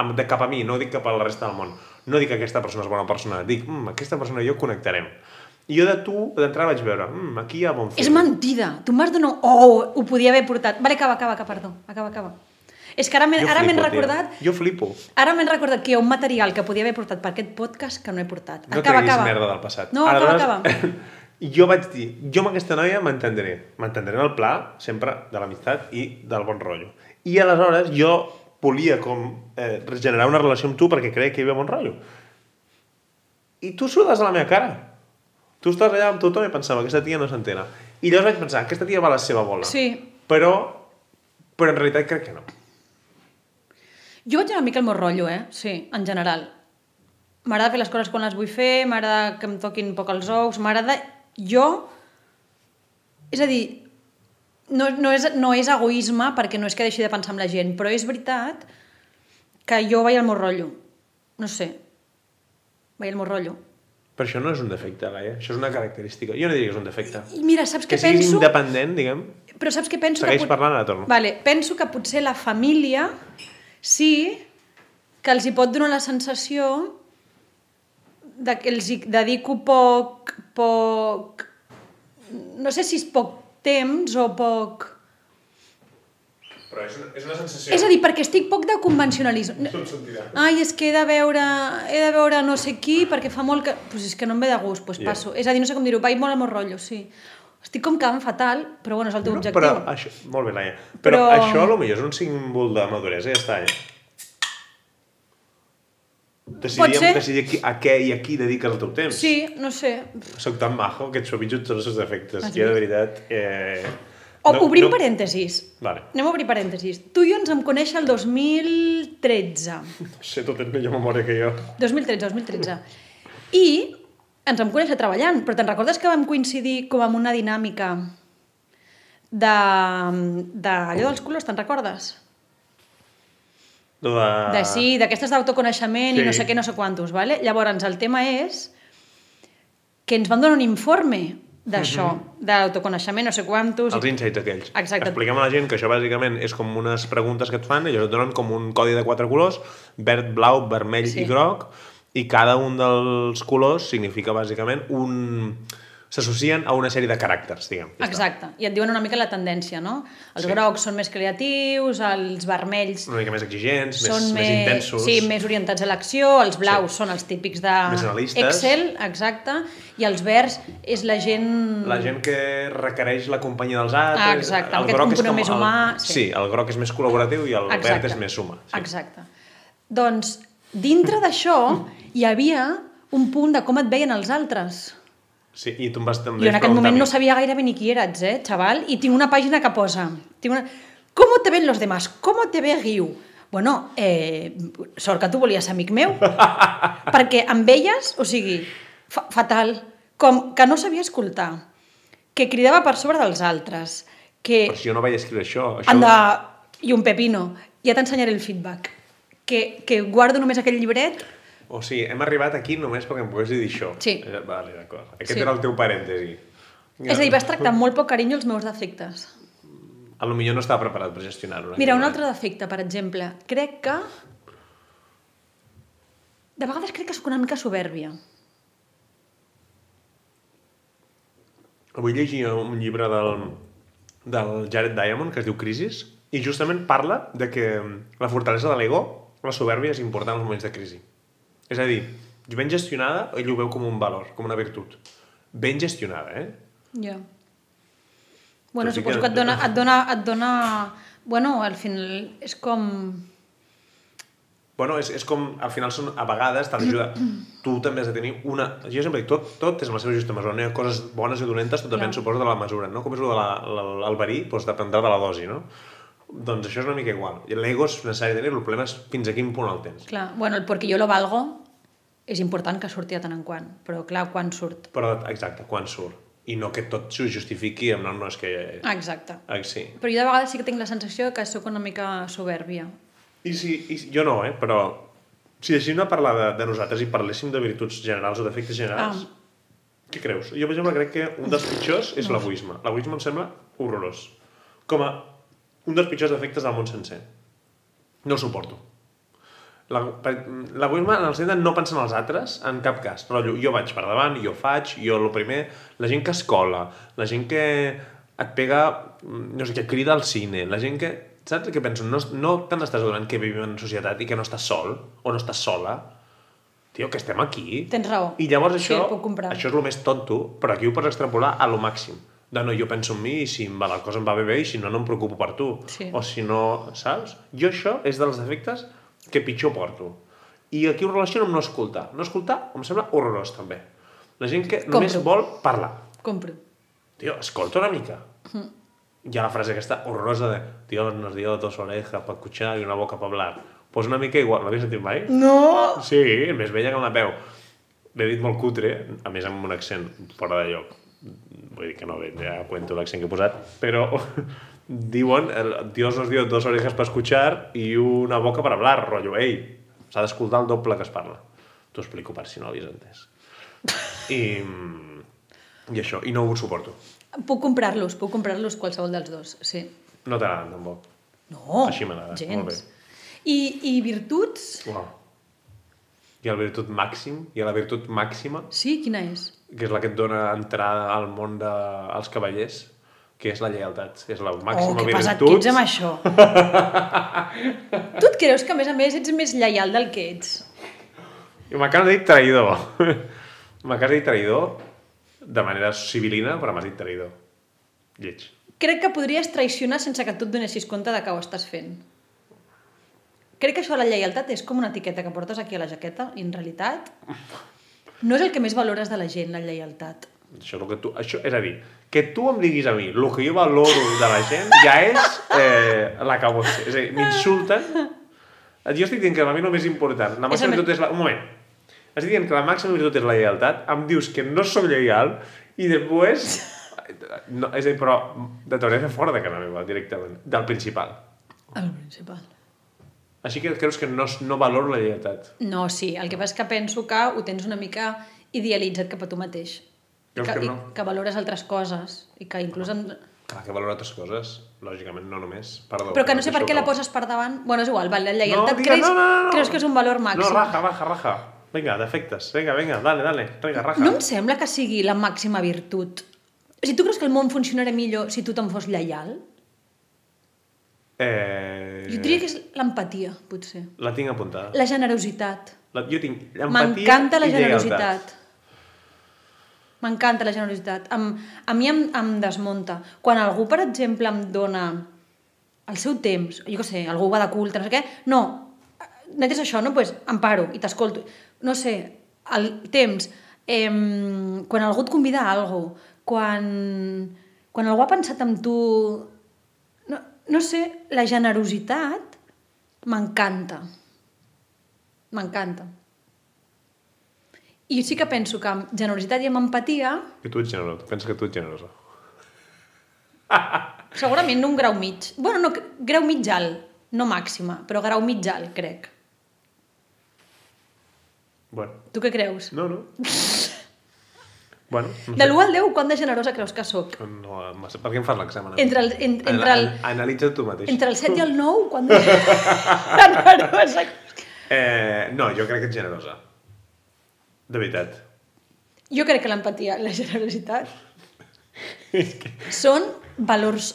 Amb, de cap a mi, no dic cap a la resta del món. No dic que aquesta persona és bona persona, dic, mm, aquesta persona i jo connectarem. I jo de tu, d'entrada vaig veure, mm, aquí hi ha bon
És
feeling.
mentida. Tu m'has donat... Oh, ho podia haver portat. Vale, acaba, acaba, acaba, perdó. Acaba, acaba. És que ara m'he
Jo
ara m'he
flipo, tio.
recordat...
Jo flipo.
Ara m'he recordat que hi ha un material que podia haver portat per aquest podcast que no he portat.
No
acaba,
treguis
acaba.
merda del passat.
No, acaba, acaba.
Jo vaig dir, jo amb aquesta noia m'entendré. M'entendré en el pla, sempre, de l'amistat i del bon rotllo. I aleshores jo volia com eh, generar una relació amb tu perquè creia que hi havia bon rotllo. I tu sudes a la meva cara. Tu estàs allà amb tothom i pensava, aquesta tia no s'entena. I llavors vaig pensar, aquesta tia va a la seva bola.
Sí.
Però, però en realitat crec que no.
Jo vaig una mica el meu rotllo, eh? Sí, en general. M'agrada fer les coses quan les vull fer, m'agrada que em toquin poc els ous, m'agrada... Jo... És a dir, no, no, és, no és egoisme perquè no és que deixi de pensar en la gent, però és veritat que jo vaig al meu rotllo. No sé. Vaig al meu rotllo.
Però això no és un defecte, Laia. Això és una característica. Jo no diria que és un defecte.
I mira, saps
Que
què
siguis
penso?
independent, diguem.
Però saps què penso?
Segueix
pot-
parlant, ara torno.
Vale, penso que potser la família sí que els hi pot donar la sensació de que els hi dedico poc, poc... No sé si és poc temps o poc...
Però és una, és una sensació.
És a dir, perquè estic poc de convencionalisme.
Tot sortirà.
Ai, és que he de veure, he de veure no sé qui perquè fa molt que... Pues és que no em ve de gust, pues
Ja.
passo. És a dir, no sé com dir-ho, vaig molt al meu rotllo, sí. Estic com quedant fatal, però bueno, és el teu
No,
objectiu.
però això, molt bé, Laia. Però,
Però-
això a lo millor és un símbol de maduresa i ja està, eh? Decidim,
ser?
decidir qui- a què i a qui dediques el teu temps.
Sí, no sé.
Soc tan majo que et suavitzo tots els defectes.
Has
Jo, de veritat... Eh...
Doncs O, no, obrim no. parèntesis.
Vale.
Anem a obrir parèntesis. Tu i jo ens vam conèixer el 2013.
No sé, tu tens millor memòria que jo.
2013, 2013. I ens vam conèixer treballant, però te'n recordes que vam coincidir com amb una dinàmica de, de allò dels colors, te'n recordes?
No de...
De sí, d'aquestes d'autoconeixement
Sí.
i no sé què, no sé quantos, vale? Llavors, el tema és que ens van donar un informe d'això, d'autoconeixement, no sé quantos...
Els insights aquells.
Exacte.
Expliquem a la gent que això bàsicament és com unes preguntes que et fan, ells et donen com un codi de quatre colors, verd, blau, vermell
Sí.
i groc, i cada un dels colors significa bàsicament un... s'associen a una sèrie de caràcters, diguem. Ja està.
Exacte, i et diuen una mica la tendència, no? Els
Sí.
grocs són més creatius, els vermells
Una mica més exigents,
són
més, més, intensos.
Sí, més orientats a l'acció, els blaus són els típics de
Més analistes.
Excel, exacte, i els verds és la gent...
La gent que requereix la companyia dels altres.
Ah, exacte,
el
aquest
groc és
component
com
més
el-
humà,
Sí.
sí.
el groc és més col·laboratiu i el verd és més humà. Sí.
Exacte. Doncs, dintre d'això, hi havia un punt de com et veien els altres.
sí. I tu em vas també
Jo en aquest
preguntar a
moment
mi.
no sabia gairebé ni qui eres, eh, xaval? I tinc una pàgina que posa... Tinc una... ¿Cómo te ven los demás? ¿Cómo te ve Guiu? Bueno, eh, sort que tu volies ser amic meu, perquè em veies, o sigui, fa fatal, com que no sabia escoltar, que cridava per sobre dels altres, que...
Però si jo no vaig escriure això. això...
Anda, i un pepino. Ja t'ensenyaré el feedback. Que, que guardo només aquell llibret.
O sigui, hem arribat aquí només perquè em pogués dir això.
Sí.
Eh, Vale, d'acord. Aquest
Sí.
era el teu parèntesi.
És a dir, vas tractar amb molt poc carinyo els meus defectes.
A lo millor no estava preparat per gestionar-ho. en
Mira,
aquell
un
moment.
altre defecte, per exemple. Crec que... De vegades crec que sóc una mica soberbia.
Avui llegia un llibre del, del Jared Diamond que es diu Crisis i justament parla de que mm, la fortalesa de l'ego, la soberbia, és important en els moments de crisi. És a dir, ben gestionada, ell ho veu com un valor, com una virtut. Ben gestionada, eh?
Jo. Bueno,
Tot i que-
suposo que et dona, et dona, et dona... Bueno, al final és com...
Bueno, és, és com, al final són, a vegades, t'han d'ajudar. tu també has de tenir una... Jo sempre dic, tot, tot és en la seva justa mesura. No hi ha coses bones i dolentes, tot depèn,
Clar.
suposo, de la mesura, no? Com és el de la- la- el verí, doncs dependrà de la dosi, no? Doncs això és una mica igual. I L'ego és necessari tenir-lo, el problema és fins a quin punt el tens.
Clar, bueno, el perquè jo lo valgo és important que surti de tant en quant. Però clar, quan surt?
Però, exacte, quan surt. I no que tot s'ho justifiqui amb no, no és que...
Ah, exacte.
Ah, sí.
Però jo de vegades sí que tinc la sensació que sóc una mica soberbia.
I si, i, si- jo no, eh? Però si deixéssim de parlar de, de nosaltres i parléssim de virtuts generals o defectes generals,
Ah.
què creus? Jo, per exemple, crec que un dels pitjors és l'egoisme. L'egoisme em sembla horrorós. Com a un dels pitjors defectes del món sencer. No el suporto. La- per- L'egoisme en el sentit de no pensar en els altres en cap cas. Però jo, jo vaig per davant, jo faig, jo el primer... La gent que escola, la gent que et pega, mm, no sé, que crida al cine, la gent que... Saps què penso? No, no te n'estàs adonant que vivim en societat i que no estàs sol o no estàs sola. Tio, que estem aquí.
Tens raó.
I llavors
Sí,
això,
el puc comprar.
això és el més tonto, però aquí ho pots extrapolar a lo màxim. De no, jo penso en mi i si em va, la cosa em va bé bé i si no, no em preocupo per tu.
Sí.
O si no, saps? Jo això és dels defectes que pitjor porto. I aquí ho relaciono amb no escoltar. No escoltar em sembla horrorós, també. La gent que
Compro.
només vol parlar.
Compro.
Tio, escolta una mica. Hi ha la frase aquesta horrorosa de Dios nos dio dos orejas para escuchar y una boca para hablar. Pues una mica igual, no l'havies sentit mai?
No!
Sí, més vella que una peu. L'he dit molt cutre, a més amb un accent fora de lloc. Vull dir que no, bé, ja cuento l'accent que he posat, però diuen, el, Dios nos dio dos orejas para escuchar i una boca per hablar, rotllo, ei, s'ha d'escoltar el doble que es parla. T'ho explico per si no l'havies entès. I, mm, I això, i no ho suporto.
Puc comprar-los, puc comprar-los qualsevol dels dos, sí.
No t'agraden, tampoc.
No,
Així m'agrada,
gens.
molt bé.
I, I virtuts?
Uau. Hi ha la virtut màxim, hi ha la virtut màxima,
Sí, quina és?
que és la que et dona entrada al món dels cavallers, que és la lleialtat, és la màxima
oh, que
virtut.
pesat que ets amb això. tu et creus que, a més a més, ets més lleial del que ets?
I M'acabes de dir traïdor. M'acabes de dir traïdor de manera civilina, però m'has dit traïdor. Lleig.
Crec que podries traicionar sense que tu et donessis compte de que ho estàs fent. Crec que això de la lleialtat és com una etiqueta que portes aquí a la jaqueta i en realitat no és el que més valores de la gent, la lleialtat.
Això, és el que tu, això, és a dir, que tu em diguis a mi el que jo valoro de la gent ja és eh, la que vols ser. És a dir, m'insulten. Jo estic dient que la mi només important, la màxima
el me-
virtut és la... Un moment. Estic dient que la màxima virtut és la lleialtat, em dius que no sóc lleial i després... No, és a dir, però de t'hauré de fer fora de casa meva, directament, del principal.
El principal.
Així que creus que no, no valoro la lleialtat.
No, sí, el que passa és que penso que ho tens una mica idealitzat cap a tu mateix.
Creus
que,
que
i
no?
que valores altres coses i que inclús... En...
Clar, que valoro altres coses, lògicament, no només. Perdó.
Però que no sé per
això
què la
no.
poses per davant. Bueno, és igual, val, la
No,
lleialtat
diga,
creus,
no, no, no, no.
creus que és un valor màxim.
No, raja, raja, raja. Vinga, defectes. Vinga, vinga, dale, dale. Vinga, raja.
No em sembla que sigui la màxima virtut. Si tu creus que el món funcionarà millor si tothom fos lleial,
Eh...
jo diria que és l'empatia, potser.
La tinc apuntada.
La generositat.
La... Jo tinc empatia
M'encanta la
i lleialtat.
generositat. M'encanta la generositat. Em, a mi em, em desmunta. Quan algú, per exemple, em dona el seu temps, jo què sé, algú va de culte, no sé què, no, net és això, no? pues, em paro i t'escolto. No sé, el temps, em, quan algú et convida a alguna quan, quan algú ha pensat en tu... No, no sé, la generositat m'encanta. M'encanta. I sí que penso que amb generositat i amb empatia,
Que tu ets generosa. Pensa que tu ets generosa.
segurament un grau mig. bueno, no, grau mig alt, no màxima, però grau mig alt, crec.
Bueno,
Tu què creus?
no, no. bueno, no
De
sé.
l'1 al 10, quant de generosa creus que sóc?
No, massa- per què em fas l'examen? a mi?
Entre el- en-
An-
entre el-
an- Analitza tu mateix.
Entre el 7 i el 9, quant de generosa...
Eh, no, jo crec que ets generosa. De veritat.
Jo crec que l'empatia i la generositat són valors...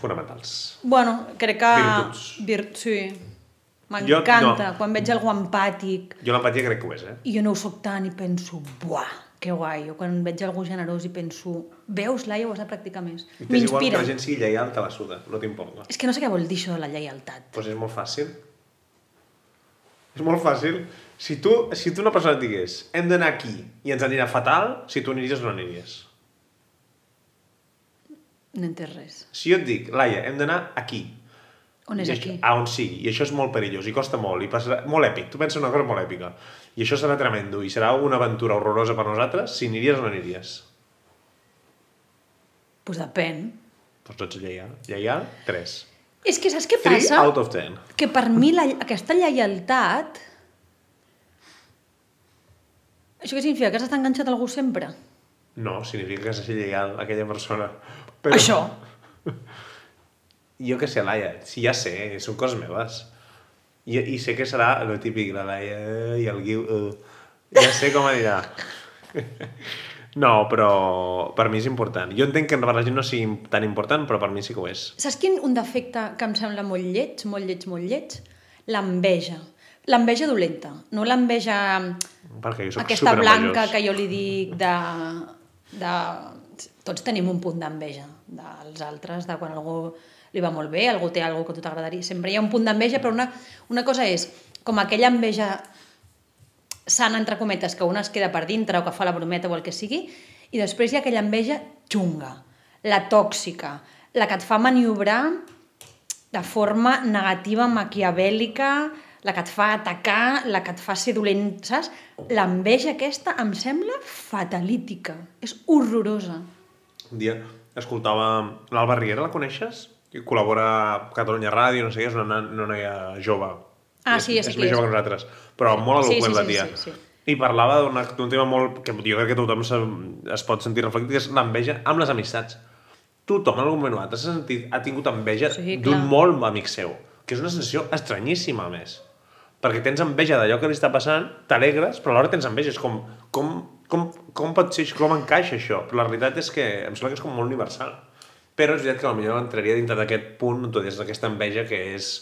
Fonamentals.
Bueno, crec que...
Virtuts.
Virt... Sí.
Jo-
M'encanta
no.
quan veig algú empàtic,
Jo l'empatia crec que ho és, eh?
I jo no ho soc tant i penso, buah, que guai. Jo quan veig algú generós i penso, veus, Laia, ho has de practicar més.
I t'és igual que
M'inspira.
la gent sigui lleial, te la suda, no t'importa.
És que no sé què vol dir això de la lleialtat.
Doncs és molt fàcil. És molt fàcil. Si tu, si tu una persona et digués hem d'anar aquí i ens anirà fatal, si tu aniries o no aniries.
No he entès res.
Si jo et dic, Laia, hem d'anar aquí.
On és
I
aquí?
Això, a on sigui. I això és molt perillós i costa molt. I passarà, molt èpic. Tu penses una cosa molt èpica. I això serà tremendo. I serà una aventura horrorosa per nosaltres si aniries o no aniries.
Pues depèn.
Doncs tots lleial. Lleial, 3.
És que saps què
3
passa?
out of 10.
Que per mi la, aquesta lleialtat... Això què significa? Que has estat enganxat a algú sempre?
No, significa que has de ser lleial a aquella persona.
Però... Això.
Jo que sé, Laia, sí, ja sé, eh, són coses meves. I, i sé que serà el típic, la Laia eh, i el Guiu... eh, ja sé com anirà. No, però per mi és important. Jo entenc que per la gent no sigui tan important, però per mi sí que ho és.
Saps quin un defecte que em sembla molt lleig, molt lleig, molt lleig? L'enveja. L'enveja dolenta. No l'enveja
Perquè jo soc
aquesta blanca
superenvejós.
que jo li dic de, de... Tots tenim un punt d'enveja dels altres, de quan algú li va molt bé, algú té alguna que a tu t'agradaria. Sempre hi ha un punt d'enveja, però una, una cosa és com aquella enveja sana, entre cometes, que una es queda per dintre o que fa la brometa o el que sigui, i després hi ha aquella enveja xunga, la tòxica, la que et fa maniobrar de forma negativa, maquiavèlica, la que et fa atacar, la que et fa ser dolent, saps? L'enveja aquesta em sembla fatalítica, és horrorosa.
Un dia escoltava l'Alba Riera, la coneixes? Que col·labora a Catalunya Ràdio, no sé què, és una, na- una noia jove.
Ah,
és,
sí, ja sé
és
qui
més
és.
jove que nosaltres, però molt
Sí, sí,
eloquent
sí,
la
sí,
tia.
sí, sí.
I parlava d'una- d'un tema molt... que jo crec que tothom se, es pot sentir reflectit, que és l'enveja amb les amistats. Tothom en algun moment o altre s'ha sentit, ha tingut enveja
Sí,
sí,
clar.
d'un molt amic seu, que és una sensació estranyíssima, a més. Perquè tens enveja d'allò que li està passant, t'alegres, però alhora tens enveja. És com, com, com, com pot ser, això? com encaixa això? Però la realitat és que em sembla que és com molt universal. Però és veritat que potser entraria dintre d'aquest punt, tot és d'aquesta enveja que és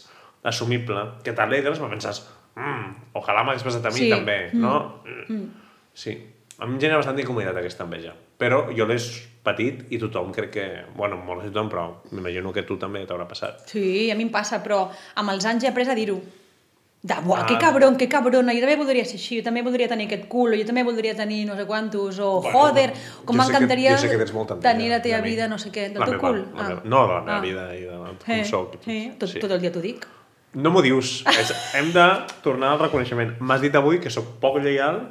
assumible, que t'alegres, però penses, mm, ojalà m'hagués passat a mi
Sí.
també, no? Mm. Sí, a mi em genera bastant incomoditat aquesta enveja. Però jo l'he patit i tothom crec que... Bueno, molt de tothom, però m'imagino que tu també t'haurà passat.
Sí, a mi em passa, però amb els anys he après a dir-ho. de, buah, que
Ah.
cabron, que cabrona, jo també voldria ser així, jo també voldria tenir aquest cul, o jo també voldria tenir no sé quantos, o
Bueno,
"Oh, joder, com
jo sé que-
m'encantaria
jo sé que tens molta enveja
tenir la teva
de mi.
vida, no sé què, del
La
teu
meva-
cul.
la meva- no, de la meva vida i de la- com
Ah. eh,
sóc.
Eh, tot,
Sí.
tot el dia t'ho dic.
No m'ho dius. És, hem de tornar al reconeixement. M'has dit avui que sóc poc lleial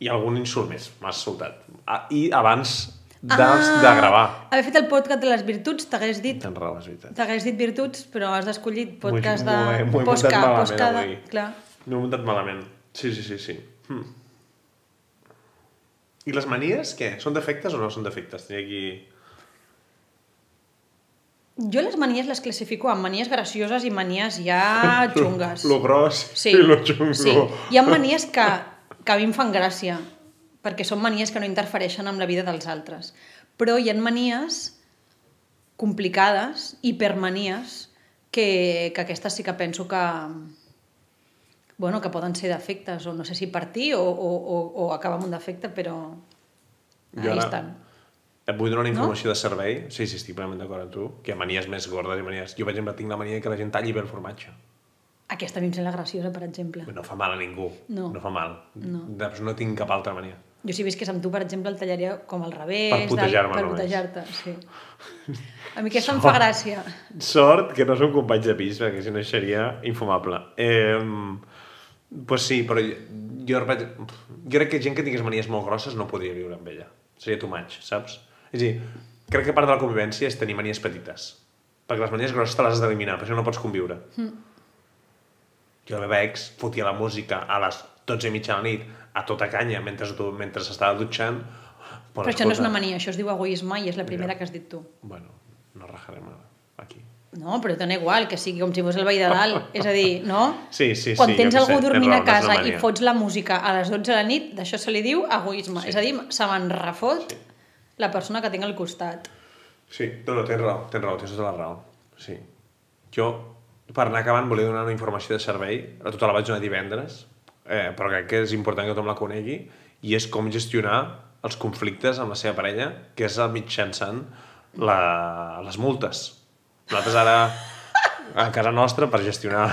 i algun insult més. M'has soltat. Ah, I abans de,
Ah.
de gravar.
Haver fet el podcast de les virtuts, t'hagués dit
Tens raó, és veritat.
t'hagués dit virtuts, però has escollit podcast
M'ho he-
de...
m'ho he muntat
posca,
malament
posca de...
avui.
Clar.
No he muntat malament. Sí, sí, sí, sí. Hm. I les manies, què? Són defectes o no són defectes? Tenia aquí...
Jo les manies les classifico en manies gracioses i manies ja xungues.
Lo gros
Sí,
i lo xungo.
sí. Hi ha manies que, que a mi em fan gràcia, perquè són manies que no interfereixen amb la vida dels altres. Però hi ha manies complicades, hipermanies, que, que aquestes sí que penso que, bueno, que poden ser defectes, o no sé si partir o, o, o, o acabar amb un defecte, però
Jo
ahí
ara-
estan.
Et vull donar una informació no? de servei. Sí, sí, estic plenament d'acord amb tu. Que hi ha manies més gordes i manies... Jo, per exemple, tinc la mania que la gent talli bé el formatge.
Aquesta a mi em sembla graciosa, per exemple.
No fa mal a ningú.
No.
no fa mal.
No.
Doncs no tinc cap altra mania.
Jo si visqués amb tu, per exemple, el tallaria com al revés...
Per putejar-me
del- Per
només.
putejar-te, sí. A mi aquesta em fa gràcia.
Sort que no som companys de pis, perquè si no seria infumable. Eh, pues sí, però jo, jo, vaig- jo crec que gent que tingués manies molt grosses no podria viure amb ella. Seria too much, saps? És a dir, crec que part de la convivència és tenir manies petites. Perquè les manies grosses te les has d'eliminar, per això no pots conviure.
Hmm.
Mm. Jo la meva ex fotia la música a les 12 i mitja de la nit, a tota canya, mentre, du- mentre s'estava dutxant.
Però això no és una mania, això es diu egoisme i és la primera que has dit tu.
Bueno, no rajarem ara, aquí.
No, però dona igual, que sigui com si fos el veí de dalt. És a dir, no?
Sí, sí,
Quan
sí,
tens
jo què sé,
algú
tens
dormint
raó,
a
no és una
casa i
mania.
fots la música a les 12 de la nit, d'això se li diu egoisme. És a dir, se me'n refot la persona que tinc al costat.
Sí, no, no, tens raó, tens raó, tens tota la raó. Sí. Jo, per anar acabant, volia donar una informació de servei, a tota la vaig donar divendres, eh, però crec que és important que tothom la conegui, i és com gestionar els conflictes amb la seva parella, que és mitjançant la, les multes. Nosaltres ara, a casa nostra, per gestionar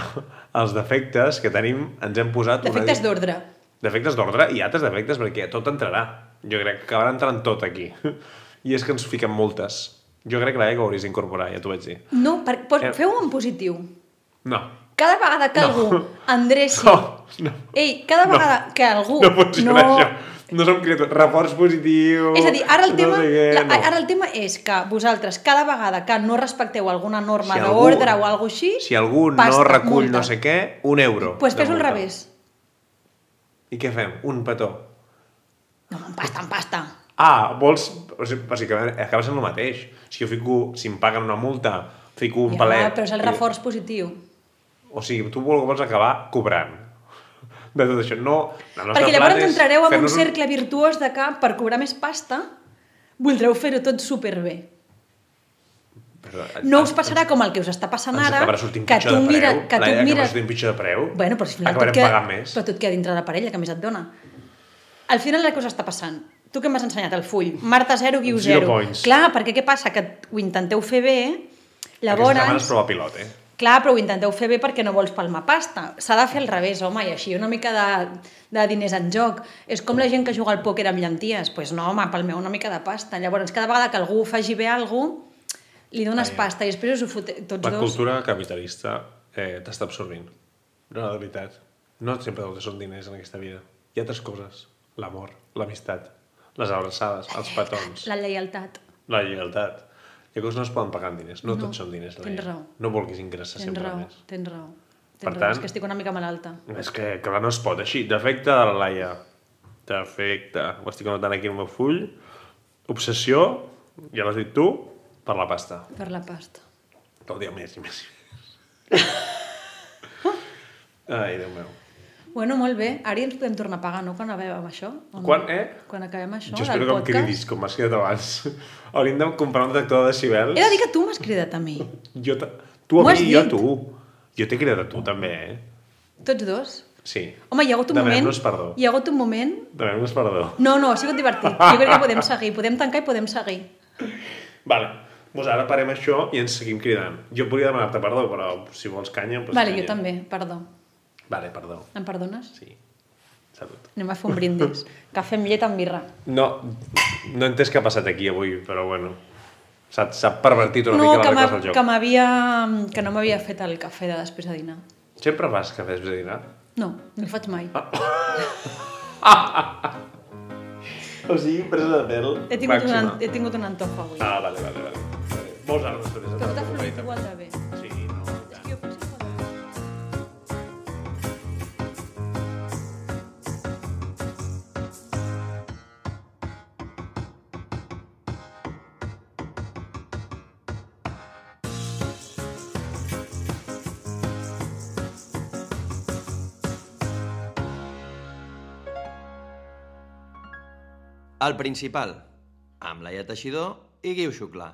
els defectes que tenim, ens hem posat... una-
Defectes d'ordre.
defectes d'ordre i altres defectes, perquè tot entrarà. Jo crec que acabarà entrant tot aquí. I és que ens fiquen multes. Jo crec que l'EGA ho hauries d'incorporar, ja t'ho vaig dir.
No, per, per,
Eh.
feu-ho en positiu.
No.
Cada vegada que
No.
algú endreci...
No, no.
Ei, cada
No.
vegada que algú...
No funciona no. això. No som criatures. Reforç positiu...
És a dir, ara el, tema,
No sé què,
la,
no.
ara el tema és que vosaltres, cada vegada que no respecteu alguna norma
Si algú-
d'ordre o alguna així...
Si algú no recull no sé què, un euro.
Doncs pues
de
fes al
multa.
revés.
I què fem? Un petó.
No, en pasta, en pasta.
Ah, vols... O sigui, bàsicament, acaba sent el mateix. Si jo fico... Si em paguen una multa, fico un
ja,
palet...
però és el
i-
reforç positiu.
O sigui, tu vol- vols acabar cobrant de tot això. No, la nostra
Perquè llavors
plan és
entrareu en un
fer-nos
cercle virtuós de que per cobrar més pasta voldreu fer-ho tot superbé.
Però,
No us passarà com el que us està passant
ens
ara,
acabarà sortint que pitjor
tu,
de preu.
mira, que tu
Laia, acabarà
mires...
sortint pitjor de preu.
Bueno, però al final tot
Acabarem
queda,
pagant més.
però tot queda dintre la parella, que més et dona. Al final la cosa està passant. Tu què m'has ensenyat? El full. Marta 0, guiu
Zero
0.
points.
Clar, perquè què passa? Que ho intenteu fer bé,
Aquestes setmanes
llavors... Doncs
prova pilot, eh?
Clar, però ho intenteu fer bé perquè no vols palmar pasta. S'ha de fer al revés, home, i així una mica de, de diners en joc. És com la gent que juga al pòquer amb llenties. Doncs pues no, home, palmeu una mica de pasta. Llavors, cada vegada que algú faci bé a algú, li dones
Ah, ja.
pasta i després us ho fote... tots
La
dos.
cultura capitalista eh, t'està absorbint. No, de veritat. No sempre tot són diners en aquesta vida. Hi ha altres coses. L'amor, l'amistat, les abraçades, els petons,
La lleialtat.
la lleialtat. Hi ha coses que no es poden pagar amb diners. No,
No,
tots són diners.
tens
Laia.
raó.
No vulguis ingressar
Tens
sempre
raó,
més.
tens raó. Tens
Per
raó,
tant-
és que estic una mica malalta.
És que, clar, no es pot així. Defecte de la Laia. Defecte. Ho estic anotant aquí al meu full. Obsessió, ja l'has dit tu, per la pasta.
Per la pasta.
Tot el dia més i més. i més. Ai, Déu meu.
Bueno, molt bé. Ara ja ens podem tornar a pagar, no?, quan acabem això. o no?
Quan, eh?
Quan acabem això
jo espero
del
que em
podcast.
cridis, com m'has cridat abans. Hauríem de comprar un detector de decibels.
He de dir que tu m'has cridat a mi.
Jo te... Tu a
M'ho
mi
has
i jo a
dit.
tu. Jo t'he cridat a tu, també, eh?
Tots dos.
Sí.
Home, hi ha hagut un moment...
Demanem-nos perdó.
Hi ha hagut un moment...
Demanem-nos perdó.
No, no, ha sigut divertit. Jo crec que podem seguir. Podem tancar i podem seguir.
Vale. Doncs ara parem això i ens seguim cridant. Jo et volia demanar-te perdó, però si vols canya... Doncs
vale,
canya.
jo també, perdó.
Vale, perdó.
Em perdones?
Sí. Salut.
Anem a fer un brindis. Cafè amb llet amb birra.
No, no he entès què ha passat aquí avui, però bueno. S'ha s'ha pervertit una
no,
mica
que,
la
m'ha-
regles del joc.
que m'havia... que no m'havia fet el cafè de després de dinar.
Sempre fas cafè després de dinar?
No, no el faig mai.
O sigui, presa de pèl
He tingut, un, an- he tingut un antojo avui.
Ah, vale, vale, vale. Vale. Molts arbres també
Però t'ha
s'han
fet igual de bé.
Sí, no, i tant.
Jo potser ho faig.
El principal, amb Laia Teixidor i Guiu Xuclà.